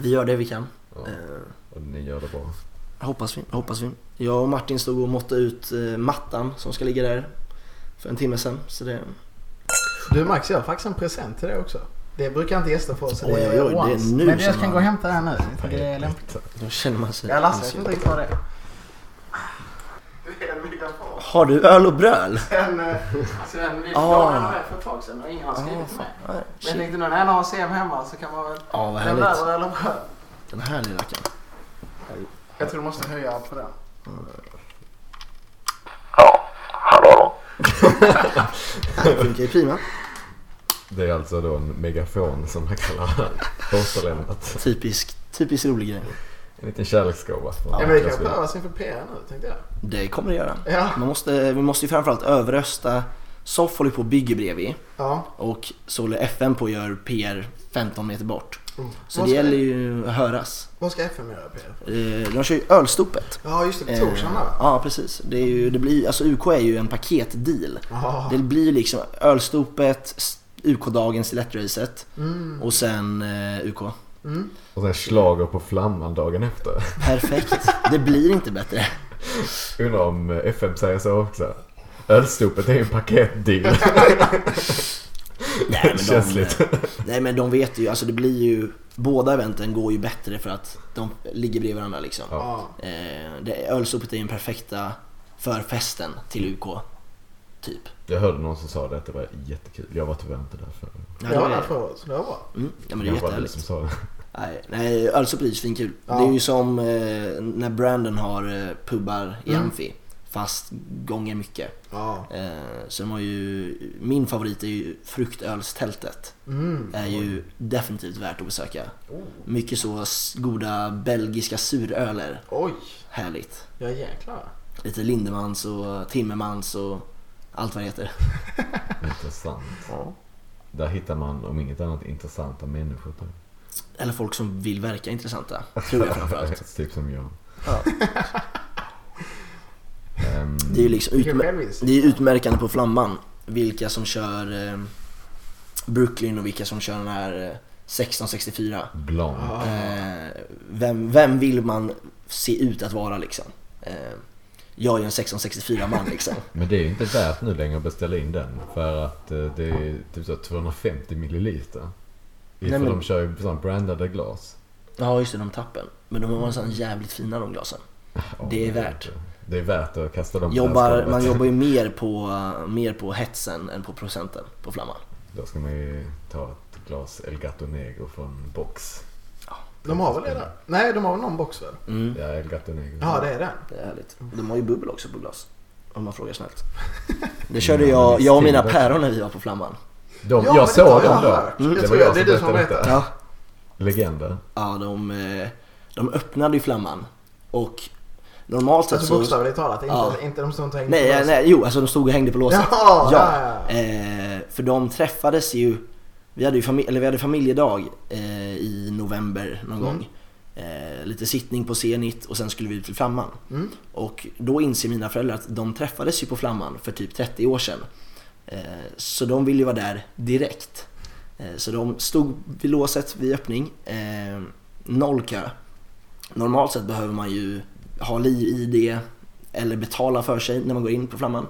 [SPEAKER 11] Vi gör det vi kan.
[SPEAKER 12] Ja.
[SPEAKER 11] Eh,
[SPEAKER 12] Och ni gör det bra.
[SPEAKER 11] hoppas vi, hoppas vi. Jag och Martin stod och måttade ut eh, mattan som ska ligga där för en timme sedan. Så det,
[SPEAKER 1] Du Max, jag har faktiskt en present till dig också. Det brukar inte gäster få så
[SPEAKER 11] Oj,
[SPEAKER 1] det
[SPEAKER 11] oj,
[SPEAKER 1] är
[SPEAKER 11] oj, det är
[SPEAKER 1] once.
[SPEAKER 11] nu
[SPEAKER 1] Men jag
[SPEAKER 11] som
[SPEAKER 1] kan
[SPEAKER 11] man-
[SPEAKER 1] gå och hämta den nu. Jag tycker det är lämpligt.
[SPEAKER 11] då känner man sig...
[SPEAKER 1] Ja, Lasse, jag vet inte riktigt vad det är.
[SPEAKER 11] Har du öl och bröl?
[SPEAKER 1] Sen, eh, sen vi
[SPEAKER 11] Ah.
[SPEAKER 1] lånade den här för ett tag sedan och ingen har
[SPEAKER 11] Ah,
[SPEAKER 1] skrivit
[SPEAKER 11] fan.
[SPEAKER 1] med.
[SPEAKER 11] Nej,
[SPEAKER 1] Men
[SPEAKER 11] shit.
[SPEAKER 1] jag tänkte nu när någon har CM hemma så kan man väl...
[SPEAKER 11] Ja, vad
[SPEAKER 1] Den
[SPEAKER 11] härligt.
[SPEAKER 1] där var eller vad?
[SPEAKER 11] Den här lilla rackaren.
[SPEAKER 1] Jag tror du måste höja på den.
[SPEAKER 11] Det funkar ju prima.
[SPEAKER 12] Det är alltså då en megafon som man kallar återlämnat.
[SPEAKER 11] Typisk, typisk rolig grej.
[SPEAKER 12] En liten kärleksgåva. från
[SPEAKER 1] Ja, men det kan
[SPEAKER 12] Niklas Wiberg.
[SPEAKER 1] prövas inför PR nu tänkte jag.
[SPEAKER 11] Det kommer det göra.
[SPEAKER 1] Ja.
[SPEAKER 11] Man måste, vi måste ju framförallt överrösta. SOF håller på och bygger bredvid
[SPEAKER 1] Ja.
[SPEAKER 11] och så håller FN på och gör PR 15 meter bort.
[SPEAKER 1] Mm.
[SPEAKER 11] Så
[SPEAKER 1] Vad
[SPEAKER 11] det
[SPEAKER 1] ska-
[SPEAKER 11] gäller ju att höras.
[SPEAKER 1] Vad ska FM göra PR?
[SPEAKER 11] Eh, De kör ju ölstopet.
[SPEAKER 1] Ja just det, på Torshamn
[SPEAKER 11] Eh,
[SPEAKER 1] där.
[SPEAKER 11] Ja precis. Det är ju, det blir, alltså UK är ju en paketdeal.
[SPEAKER 1] Ja.
[SPEAKER 11] Det blir liksom ölstopet, s- UK-dagen, stilettracet
[SPEAKER 1] Mm.
[SPEAKER 11] och sen eh, UK.
[SPEAKER 1] Mm.
[SPEAKER 12] Och sen slager på flamman dagen efter.
[SPEAKER 11] Perfekt. det blir inte bättre.
[SPEAKER 12] Undrar om FM säger så också. Ölstopet är en paketdeal.
[SPEAKER 11] Nej, men de,
[SPEAKER 12] Känsligt.
[SPEAKER 11] nej men de vet ju, alltså det blir ju Båda eventen går ju bättre för att de ligger bredvid varandra liksom.
[SPEAKER 1] Ja.
[SPEAKER 11] Eh, det, ölsopet är ju den perfekta förfesten till UK. Typ.
[SPEAKER 12] Jag hörde någon som sa det att det var jättekul. Jag var tyvärr inte där förra gången.
[SPEAKER 1] Jag var där förra året så det var bra.
[SPEAKER 11] Mm, ja, men det är
[SPEAKER 12] Jag var den
[SPEAKER 11] jättehärligt.
[SPEAKER 2] liksom
[SPEAKER 12] som sa det.
[SPEAKER 11] Nej, nej ölsopet är ju svinkul.
[SPEAKER 1] Ja.
[SPEAKER 11] Det är ju som eh, när Brandon har eh, pubbar i
[SPEAKER 1] Mm.
[SPEAKER 11] Amfi. Fast gånger mycket.
[SPEAKER 1] Ja.
[SPEAKER 11] Eh, så de har ju, min favorit är ju fruktölstältet.
[SPEAKER 1] Mm.
[SPEAKER 11] Är ju definitivt värt att besöka.
[SPEAKER 1] Oh.
[SPEAKER 11] Mycket så s- goda belgiska suröler.
[SPEAKER 1] Oj,
[SPEAKER 11] Härligt.
[SPEAKER 1] ja jäklar.
[SPEAKER 11] Lite Lindemans och Timmermans och allt vad det heter.
[SPEAKER 12] Intressant. Där hittar man om inget annat intressanta människor. tror jag.
[SPEAKER 11] Eller folk som vill verka intressanta. Tror jag framförallt.
[SPEAKER 12] typ som jag.
[SPEAKER 11] Ja.
[SPEAKER 12] Ehm,
[SPEAKER 11] Det är ju liksom
[SPEAKER 1] Vilken
[SPEAKER 11] utmär-
[SPEAKER 1] självinsikt.
[SPEAKER 11] det är utmärkande på Flamman vilka som kör eh, Brooklyn och vilka som kör den här eh, 1664.
[SPEAKER 12] Blanc.
[SPEAKER 11] Eh, vem, vem vill man se ut att vara liksom? Eh, jag är ju en 1664-man liksom.
[SPEAKER 12] Men det är ju inte värt nu längre att beställa in den. För att eh, det är typ så 250 milliliter.
[SPEAKER 11] Nej,
[SPEAKER 12] för
[SPEAKER 11] men-
[SPEAKER 12] de kör ju sån brandade glas.
[SPEAKER 11] Ja just det, de tappen. Men de var sån jävligt fina de glasen. Det är värt.
[SPEAKER 12] Det är värt att kasta dem på
[SPEAKER 11] Jobbar,
[SPEAKER 12] näsgolvet.
[SPEAKER 11] man jobbar ju mer på, mer på hetsen än på procenten på Flamman.
[SPEAKER 12] Då ska man ju ta ett glas El Gato Negro från box.
[SPEAKER 1] De har väl det där? Nej, de har väl någon box väl?
[SPEAKER 11] Mm.
[SPEAKER 12] Ja, El Gato Negro.
[SPEAKER 1] Ja, det är den.
[SPEAKER 11] Det är härligt. De har ju bubbel också på glas. Om man frågar snällt. Det körde jag, jag och mina päron när vi var på Flamman.
[SPEAKER 12] De,
[SPEAKER 1] Ja,
[SPEAKER 12] jag
[SPEAKER 1] det har
[SPEAKER 12] såg
[SPEAKER 1] jag
[SPEAKER 12] dem då.
[SPEAKER 1] hört.
[SPEAKER 12] Det
[SPEAKER 1] Jag
[SPEAKER 12] var
[SPEAKER 1] tror jag-
[SPEAKER 12] jag
[SPEAKER 1] det
[SPEAKER 12] som
[SPEAKER 1] är du som
[SPEAKER 12] berättade
[SPEAKER 1] berättade.
[SPEAKER 12] detta.
[SPEAKER 11] Ja,
[SPEAKER 12] Legender.
[SPEAKER 11] ja de, eh, de öppnade ju Flamman. Och normalt sett
[SPEAKER 1] Alltså
[SPEAKER 11] så...
[SPEAKER 1] bokstavligt talat, inte,
[SPEAKER 11] Ja.
[SPEAKER 1] inte de som inte hängde på
[SPEAKER 11] Nej,
[SPEAKER 1] oss.
[SPEAKER 11] nej, jo alltså de stod och hängde på låset.
[SPEAKER 1] Jaha, ja,
[SPEAKER 11] Eh, för de träffades ju... Vi hade ju familj, eller vi hade familjedag eh, i november någon
[SPEAKER 1] Mm.
[SPEAKER 11] gång. Eh, lite sittning på Zenit och sen skulle vi ut till Flamman.
[SPEAKER 1] Mm.
[SPEAKER 11] Och då inser mina föräldrar att de träffades ju på Flamman för typ 30 år sedan. Eh, Så de ville ju vara där direkt. Eh, Så de stod vid låset vid öppning. Eh, Noll kö. Normalt sett behöver man ju ha liv-id, eller betala för sig när man går in på Flamman.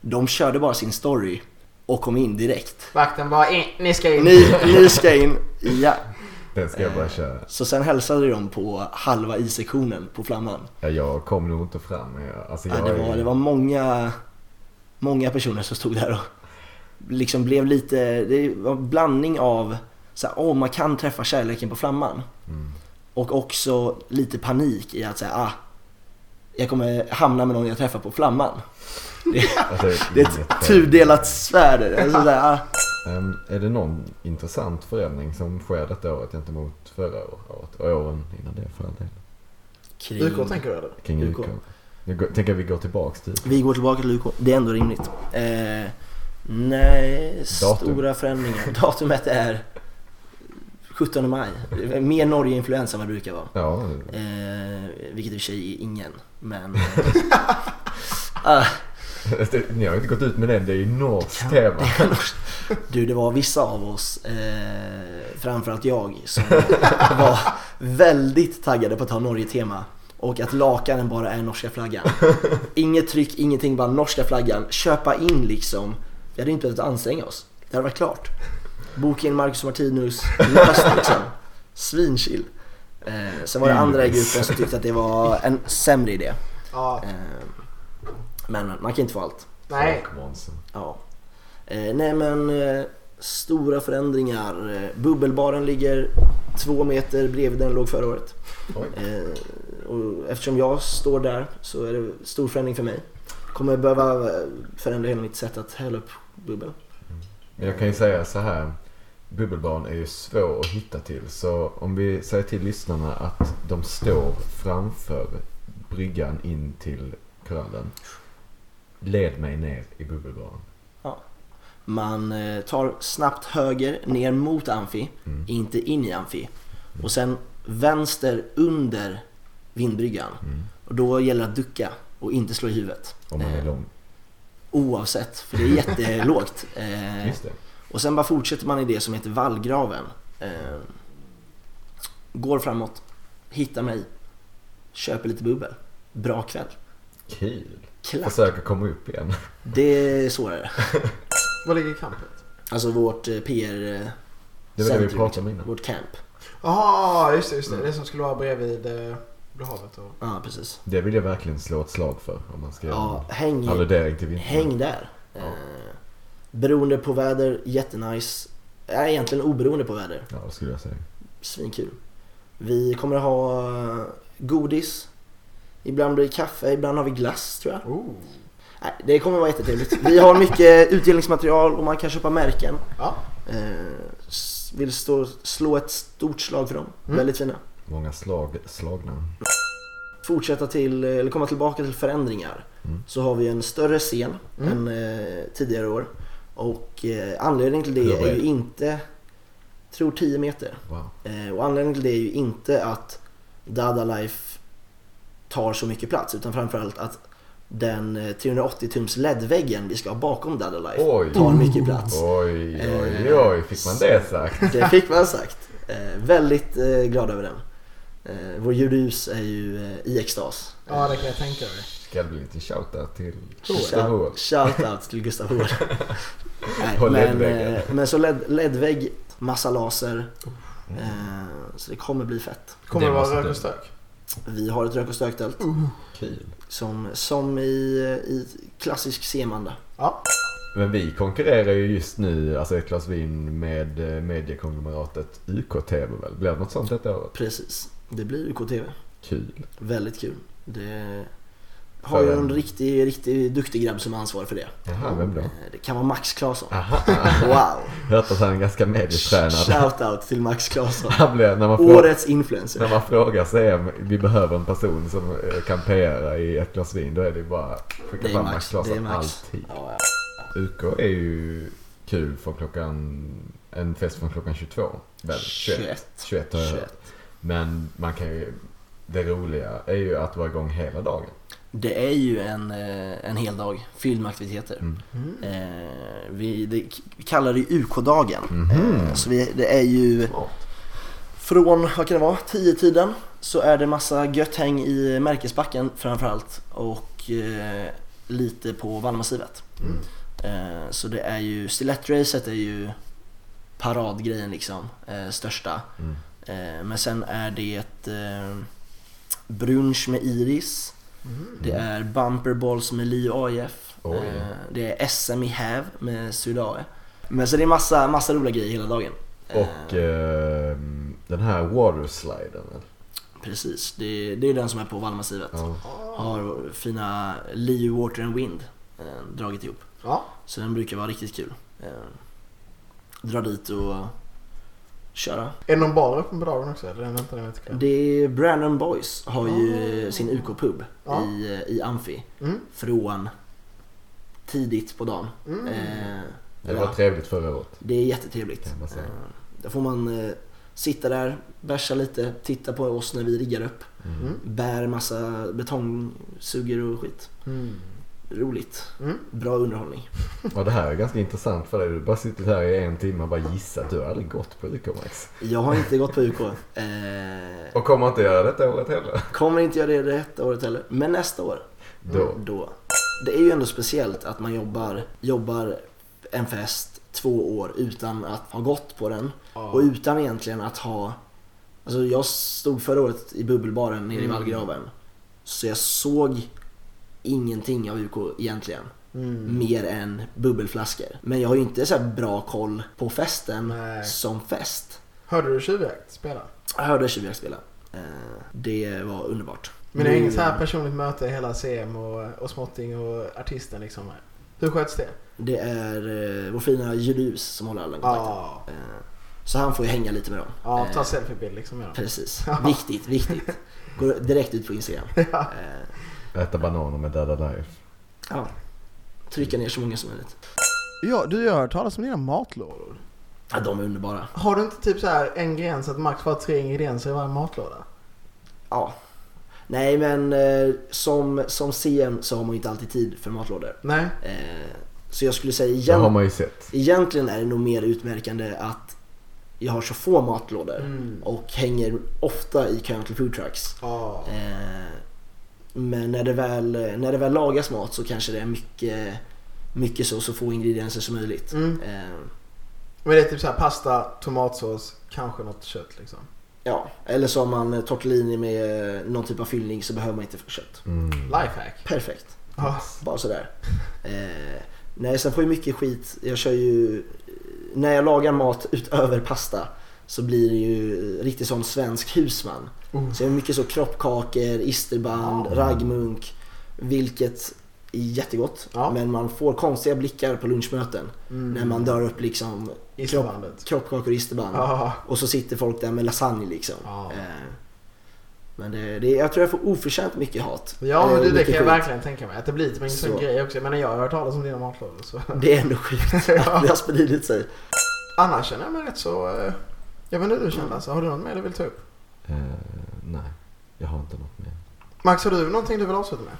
[SPEAKER 11] De körde bara sin story och kom in direkt.
[SPEAKER 1] Vakten bara in, ni ska in.
[SPEAKER 11] Ni, ni ska in, ja.
[SPEAKER 12] Den ska
[SPEAKER 11] Eh.
[SPEAKER 12] jag bara köra.
[SPEAKER 11] Så sen hälsade de på halva I-sektionen på Flamman.
[SPEAKER 12] Ja, jag kom nog inte fram. men Jag, alltså, jag
[SPEAKER 11] Ja, det,
[SPEAKER 12] är-
[SPEAKER 11] var, det var många, många personer som stod där och liksom blev lite, det var en blandning av så här, åh man kan träffa kärleken på flamman. Och också lite panik i att säga, ah, jag kommer hamna med någon jag träffar på flamman. Det,
[SPEAKER 12] Alltså,
[SPEAKER 11] det är ett tudelat svärd. Alltså, så här, ah.
[SPEAKER 12] Ehm, är det någon intressant förändring som sker detta året gentemot förra året och åren innan det för all del?
[SPEAKER 11] Kring- UK tänker du, eller?
[SPEAKER 12] Kring UK.
[SPEAKER 11] UK.
[SPEAKER 12] Nu går- tänker jag vi går tillbaks till
[SPEAKER 11] Vi går tillbaka till UK, det är ändå rimligt. Eh, nej,
[SPEAKER 12] Datum.
[SPEAKER 11] stora förändringar. Datumet är 17 maj. Det är Mer Norge-influens än vad det brukar vara.
[SPEAKER 12] Ja.
[SPEAKER 11] Eh, vilket i och för sig är ingen, men... Ah,
[SPEAKER 12] Ni har ju inte gått ut med den, det är ju norskt tema.
[SPEAKER 11] du, det var vissa av oss, eh, framförallt jag, som var väldigt taggade på att ha Norge-tema. Och att lakanen bara är norska flaggan. Inget tryck, ingenting, bara norska flaggan. Köpa in liksom. Vi hade inte behövt anstränga oss. Det hade varit klart. Boka in Marcus och Martinus, löst liksom. Svinchill. Eh, sen var det andra i gruppen som tyckte att det var en sämre idé.
[SPEAKER 1] Ja.
[SPEAKER 11] Eh, Men man kan inte få allt.
[SPEAKER 1] Nej.
[SPEAKER 11] Ja. Eh, nej men eh, stora förändringar. Eh, Bubbelbaren ligger två meter bredvid den låg förra året. Eh, och eftersom jag står där så är det stor förändring för mig. Kommer behöva eh, förändra hela mitt sätt att hälla upp bubbel.
[SPEAKER 12] Men jag kan ju säga så här. Bubbelbarn är ju svår att hitta till. Så om vi säger till lyssnarna att de står framför bryggan in till korallen. Led mig ner i bubbelbarn.
[SPEAKER 11] Man eh, tar snabbt höger ner mot amfi,
[SPEAKER 12] Mm.
[SPEAKER 11] inte in i amfi. Och sen vänster under vindbryggan. Och då gäller det att ducka och inte slå i huvudet.
[SPEAKER 12] Mm.
[SPEAKER 11] Eh,
[SPEAKER 12] Om man är lång.
[SPEAKER 11] Oavsett, för det är jättelågt. Eh,
[SPEAKER 12] Just det.
[SPEAKER 11] Och sen bara fortsätter man i det som heter vallgraven. Eh, går framåt, hittar mig, köper lite bubbel. Bra kväll.
[SPEAKER 12] Kul.
[SPEAKER 11] Klack.
[SPEAKER 12] Försöka komma upp igen.
[SPEAKER 11] Det är svårare.
[SPEAKER 1] Var ligger campet?
[SPEAKER 11] Alltså vårt PR-centrum.
[SPEAKER 12] Det var det vi pratade om innan.
[SPEAKER 11] liksom. Vårt camp.
[SPEAKER 1] Jaha, just det, just det. Det som skulle vara bredvid eh, Blå havet och...
[SPEAKER 11] Ja, precis.
[SPEAKER 12] Det vill jag verkligen slå ett slag för. Om man ska
[SPEAKER 11] Ja,
[SPEAKER 12] en
[SPEAKER 11] häng,
[SPEAKER 12] Alludering till vintern.
[SPEAKER 11] häng där. Eh, beroende på väder, jättenice. Äh, egentligen oberoende på väder.
[SPEAKER 12] Ja, det skulle jag säga.
[SPEAKER 11] Svinkul. Vi kommer att ha eh, godis. Ibland blir det kaffe, ibland har vi glass tror jag. Nej, det kommer vara jättetrevligt. Vi har mycket utdelningsmaterial och man kan köpa märken.
[SPEAKER 1] Ja.
[SPEAKER 11] Eh, s- vill stå, slå ett stort slag för dem.
[SPEAKER 12] Mm.
[SPEAKER 11] Väldigt fina.
[SPEAKER 12] Många slag, slagna.
[SPEAKER 11] Fortsätta till, eller komma tillbaka till förändringar.
[SPEAKER 12] Mm.
[SPEAKER 11] Så har vi en större scen
[SPEAKER 1] Mm.
[SPEAKER 11] än eh, tidigare år. Och eh, anledningen till
[SPEAKER 12] Hur
[SPEAKER 11] det
[SPEAKER 12] bred?
[SPEAKER 11] är ju inte, tror 10 meter.
[SPEAKER 12] Wow.
[SPEAKER 11] Eh, och anledningen till det är ju inte att Dada Life tar så mycket plats utan framförallt att den eh, 380 tums LED-väggen vi ska ha bakom Dada Life
[SPEAKER 12] Oj.
[SPEAKER 11] tar mycket plats.
[SPEAKER 12] Oj, oj,
[SPEAKER 11] Eh,
[SPEAKER 12] oj. Fick man det
[SPEAKER 11] så-
[SPEAKER 12] sagt?
[SPEAKER 11] Det fick man sagt. Eh, väldigt eh, glad över den. Eh, vår ljudhus är ju eh, i extas.
[SPEAKER 1] Ja, det kan jag tänka mig.
[SPEAKER 12] Ska det bli lite shoutout till Gustav Hoel?
[SPEAKER 11] Shout- Shoutout till Gustav Hård.
[SPEAKER 12] På
[SPEAKER 11] men,
[SPEAKER 12] LED-väggen.
[SPEAKER 11] eh, men så LED- LED-vägg, massa laser.
[SPEAKER 12] Mm.
[SPEAKER 11] Eh, så det kommer bli fett.
[SPEAKER 1] Kommer det, vara rök och stök?
[SPEAKER 11] Vi har ett rök och stöktält.
[SPEAKER 12] Kul.
[SPEAKER 11] Som, som i, i klassisk semanda.
[SPEAKER 1] Ja.
[SPEAKER 12] Men vi konkurrerar ju just nu, alltså ett glas vin med eh, mediekonglomeratet UKTV väl? Blir det något sånt detta året?
[SPEAKER 11] Precis. Det blir UKTV.
[SPEAKER 12] Kul.
[SPEAKER 11] Väldigt kul. Det har ju
[SPEAKER 12] För-
[SPEAKER 11] en riktig, riktig duktig grabb som är ansvarig för det.
[SPEAKER 12] Jaha, vem då?
[SPEAKER 11] Eh, Det kan vara Max Claesson.
[SPEAKER 12] Aha.
[SPEAKER 11] Wow!
[SPEAKER 12] Hört att han är ganska medietränad.
[SPEAKER 11] Shoutout till Max Claesson.
[SPEAKER 12] Han blir, när man frågar-
[SPEAKER 11] Årets influencer.
[SPEAKER 12] När man frågar sig om vi behöver en person som eh, kan PR i ett glas vin, då är det ju bara skicka
[SPEAKER 11] Det är
[SPEAKER 12] fram
[SPEAKER 11] Max,
[SPEAKER 12] Max
[SPEAKER 11] det är
[SPEAKER 12] Claesson
[SPEAKER 11] Max.
[SPEAKER 12] alltid. UK är ju kul från klockan, en fest från klockan 22. Väl, 21.
[SPEAKER 11] 21.
[SPEAKER 12] 21 har jag hört. Men man kan ju, det roliga är ju att vara igång hela dagen.
[SPEAKER 11] Det är ju en, eh, en hel dag fylld med aktiviteter.
[SPEAKER 1] Mm.
[SPEAKER 11] Eh, vi, det, vi kallar det ju UK-dagen.
[SPEAKER 12] Mhm.
[SPEAKER 11] Eh, så vi, det är ju Från, vad kan det vara, 10-tiden så är det massa gött häng i Märkesbacken framförallt och eh, lite på Vallmassivet.
[SPEAKER 12] Mm.
[SPEAKER 11] Eh, så det är ju, stilettracet är ju paradgrejen liksom, eh, största.
[SPEAKER 12] Mm.
[SPEAKER 11] Eh, men sen är det ett eh, brunch med Iris.
[SPEAKER 12] Mm.
[SPEAKER 11] Det är bumperballs med Li och AIF.
[SPEAKER 12] Oj.
[SPEAKER 11] Eh, det är SM i häv med E Sudae. Men så det är massa, massa roliga grejer hela dagen. Eh,
[SPEAKER 12] Och ehm, den här watersliden. väl?
[SPEAKER 11] Precis, det, det är den som är på Vallmassivet. Har fina Lee Water and Wind eh, dragit ihop.
[SPEAKER 1] Ja.
[SPEAKER 11] Så den brukar vara riktigt kul. Eh, dra dit och köra.
[SPEAKER 1] Är det någon bar öppen på dagen också? Eller väntar ni lite
[SPEAKER 11] Det är Brandon Boys har ju sin UK-pub i, eh, i Amfi.
[SPEAKER 1] Ah. Mm.
[SPEAKER 11] Från tidigt på dagen.
[SPEAKER 1] Mm.
[SPEAKER 11] Eh,
[SPEAKER 12] Det
[SPEAKER 11] eller
[SPEAKER 12] var
[SPEAKER 11] ja,
[SPEAKER 12] trevligt förra året.
[SPEAKER 11] Det är jättetrevligt.
[SPEAKER 12] man säga.
[SPEAKER 11] Eh, Där får man eh, sitta där, bärsa lite, titta på oss när vi riggar upp.
[SPEAKER 1] Mm.
[SPEAKER 11] Bär massa betongsuger och skit.
[SPEAKER 1] Mm.
[SPEAKER 11] Roligt.
[SPEAKER 1] Mm.
[SPEAKER 11] Bra underhållning.
[SPEAKER 12] Ja, det här är ganska intressant för dig. Du har bara suttit här i en timme och bara gissat. Du har aldrig gått på UK Max.
[SPEAKER 11] Jag har inte gått på UK. Eh,
[SPEAKER 12] Och kommer inte göra detta året heller.
[SPEAKER 11] Kommer inte göra det detta året heller, men nästa år.
[SPEAKER 12] Då.
[SPEAKER 11] Då. Det är ju ändå speciellt att man jobbar, jobbar en fest två år utan att ha gått på den. Och utan egentligen att ha... Alltså jag stod förra året i bubbelbaren nere i
[SPEAKER 1] Mm.
[SPEAKER 11] Vallgraven. Så jag såg ingenting av UK egentligen.
[SPEAKER 1] Mm.
[SPEAKER 11] Mer än bubbelflaskor. Men jag har ju inte så här bra koll på festen
[SPEAKER 1] Nej.
[SPEAKER 11] som fest.
[SPEAKER 1] Hörde du Tjuvjakt spela?
[SPEAKER 11] Jag hörde Tjuvjakt spela. Eh, Det var underbart.
[SPEAKER 1] Men det är
[SPEAKER 11] Nu-
[SPEAKER 1] inget så här personligt möte hela CM och, och Småtting och artisten liksom? Hur sköts det?
[SPEAKER 11] Det är eh, vår fina Julius som håller alla kontakter.
[SPEAKER 1] Ja.
[SPEAKER 11] Eh, Så han får ju hänga lite med dem.
[SPEAKER 1] Ja, ta
[SPEAKER 11] Eh,
[SPEAKER 1] selfiebild liksom med dem.
[SPEAKER 11] Precis.
[SPEAKER 1] Ja.
[SPEAKER 11] Viktigt, viktigt. Går direkt ut på Instagram. Eh,
[SPEAKER 12] Äta bananer med Dada Life.
[SPEAKER 11] Ja. Trycka ner så många som möjligt.
[SPEAKER 1] Ja, du har hört talas om dina matlådor.
[SPEAKER 11] Ja, de är underbara.
[SPEAKER 1] Har du inte typ så här en gräns att max vara tre ingredienser i varje matlåda?
[SPEAKER 11] Ja. Nej men eh, som, som CM så har man ju inte alltid tid för matlådor.
[SPEAKER 1] Nej.
[SPEAKER 11] Eh, Så jag skulle säga
[SPEAKER 12] Det har
[SPEAKER 11] igen,
[SPEAKER 12] man ju sett.
[SPEAKER 11] egentligen är det nog mer utmärkande att jag har så få matlådor
[SPEAKER 1] Mm.
[SPEAKER 11] och hänger ofta i kön till foodtrucks.
[SPEAKER 1] Ja.
[SPEAKER 11] Eh, Men när det, väl, när det väl lagas mat så kanske det är mycket, mycket så, så få ingredienser som möjligt.
[SPEAKER 1] Mm.
[SPEAKER 11] Eh,
[SPEAKER 1] Men det är typ så här pasta, tomatsås, kanske något kött liksom.
[SPEAKER 11] Ja, eller så har man tortellini med någon typ av fyllning så behöver man inte kött.
[SPEAKER 1] Lifehack. Ah.
[SPEAKER 11] Perfekt.
[SPEAKER 1] Ja.
[SPEAKER 11] Bara sådär. Eh, nej, sen får jag mycket skit. Jag kör ju... När jag lagar mat utöver pasta så blir det ju riktigt sån svensk husman.
[SPEAKER 1] Oh.
[SPEAKER 11] Så jag har mycket så kroppkakor, isterband, raggmunk. Vilket är jättegott. Men man får konstiga blickar på lunchmöten.
[SPEAKER 1] Mm.
[SPEAKER 11] När man drar upp liksom
[SPEAKER 1] Isterbandet.
[SPEAKER 11] kroppkakor och isterband.
[SPEAKER 1] Ja.
[SPEAKER 11] Och så sitter folk där med lasagne liksom.
[SPEAKER 1] Ja.
[SPEAKER 11] Eh, Men det, det, jag tror jag får oförtjänt mycket hat.
[SPEAKER 1] Ja men
[SPEAKER 11] Eh,
[SPEAKER 1] du, det
[SPEAKER 11] mycket
[SPEAKER 1] kan jag
[SPEAKER 11] skit.
[SPEAKER 1] verkligen tänka mig. Att det blir typ en sån
[SPEAKER 11] Så.
[SPEAKER 1] grej också. Jag menar jag har hört talas om dina matlådor så.
[SPEAKER 11] Det är ändå sjukt att det har spridit sig.
[SPEAKER 1] Annars känner jag mig rätt så... eh, Jag vet inte hur du känner alltså. Har du något mer du vill ta upp?
[SPEAKER 12] Eh, nej, jag har inte något mer.
[SPEAKER 1] Max har du någonting du vill avsluta med?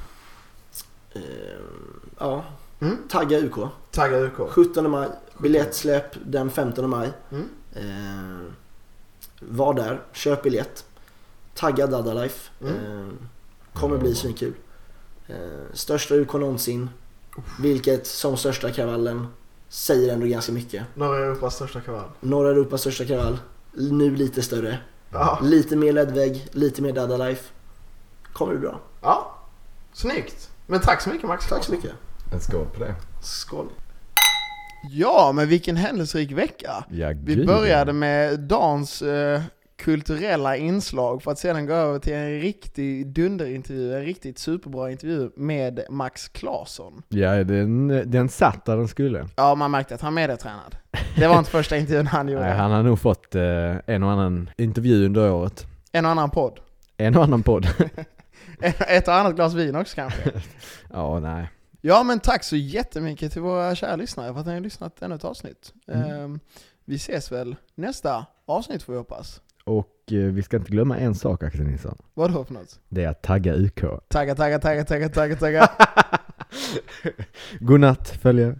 [SPEAKER 11] Ehm, ja.
[SPEAKER 1] Mm.
[SPEAKER 11] Tagga UK.
[SPEAKER 1] Tagga UK.
[SPEAKER 11] 17 maj. Biljettsläpp den 15 maj.
[SPEAKER 1] Mm.
[SPEAKER 11] Ehm, var där. Köp biljett. Tagga Dadalife.
[SPEAKER 1] Mm.
[SPEAKER 11] Ehm, kommer bli svinkul. Ehm, största UK någonsin. Vilket som största kravallen säger ändå ganska mycket.
[SPEAKER 1] Norra Europas största kavall.
[SPEAKER 11] Norra Europas största kravall. Nu lite större.
[SPEAKER 1] Ja.
[SPEAKER 11] Lite mer ledvägg, lite mer Dadalife. Kommer det bra.
[SPEAKER 1] Ja. Snyggt. Men tack så mycket Max.
[SPEAKER 11] Tack så mycket.
[SPEAKER 12] En skål på det.
[SPEAKER 11] Skål.
[SPEAKER 1] Ja, men vilken händelserik vecka.
[SPEAKER 12] Ja,
[SPEAKER 1] Vi
[SPEAKER 12] gud.
[SPEAKER 1] började med dans eh, kulturella inslag för att sedan gå över till en riktig dunderintervju, en riktigt superbra intervju med Max Claesson.
[SPEAKER 2] Ja, den, den satt där den skulle.
[SPEAKER 1] Ja, man märkte att han är medietränad. Det var inte första intervjun han gjorde.
[SPEAKER 2] Nej, han har nog fått eh, en och annan intervju under året.
[SPEAKER 1] En och annan podd.
[SPEAKER 2] En och annan podd.
[SPEAKER 1] Ett och annat glas vin också kanske.
[SPEAKER 2] ja, nej.
[SPEAKER 1] Ja, men tack så jättemycket till våra kära lyssnare för att ni har lyssnat ännu ett avsnitt.
[SPEAKER 2] Mm.
[SPEAKER 1] Ehm, vi ses väl nästa avsnitt får vi hoppas.
[SPEAKER 2] Och eh, vi ska inte glömma en sak Axel Nilsson.
[SPEAKER 1] Vadå för något?
[SPEAKER 2] Det är att tagga UK.
[SPEAKER 1] Tagga, tagga, tagga, tagga, tagga, tagga.
[SPEAKER 2] Godnatt följare.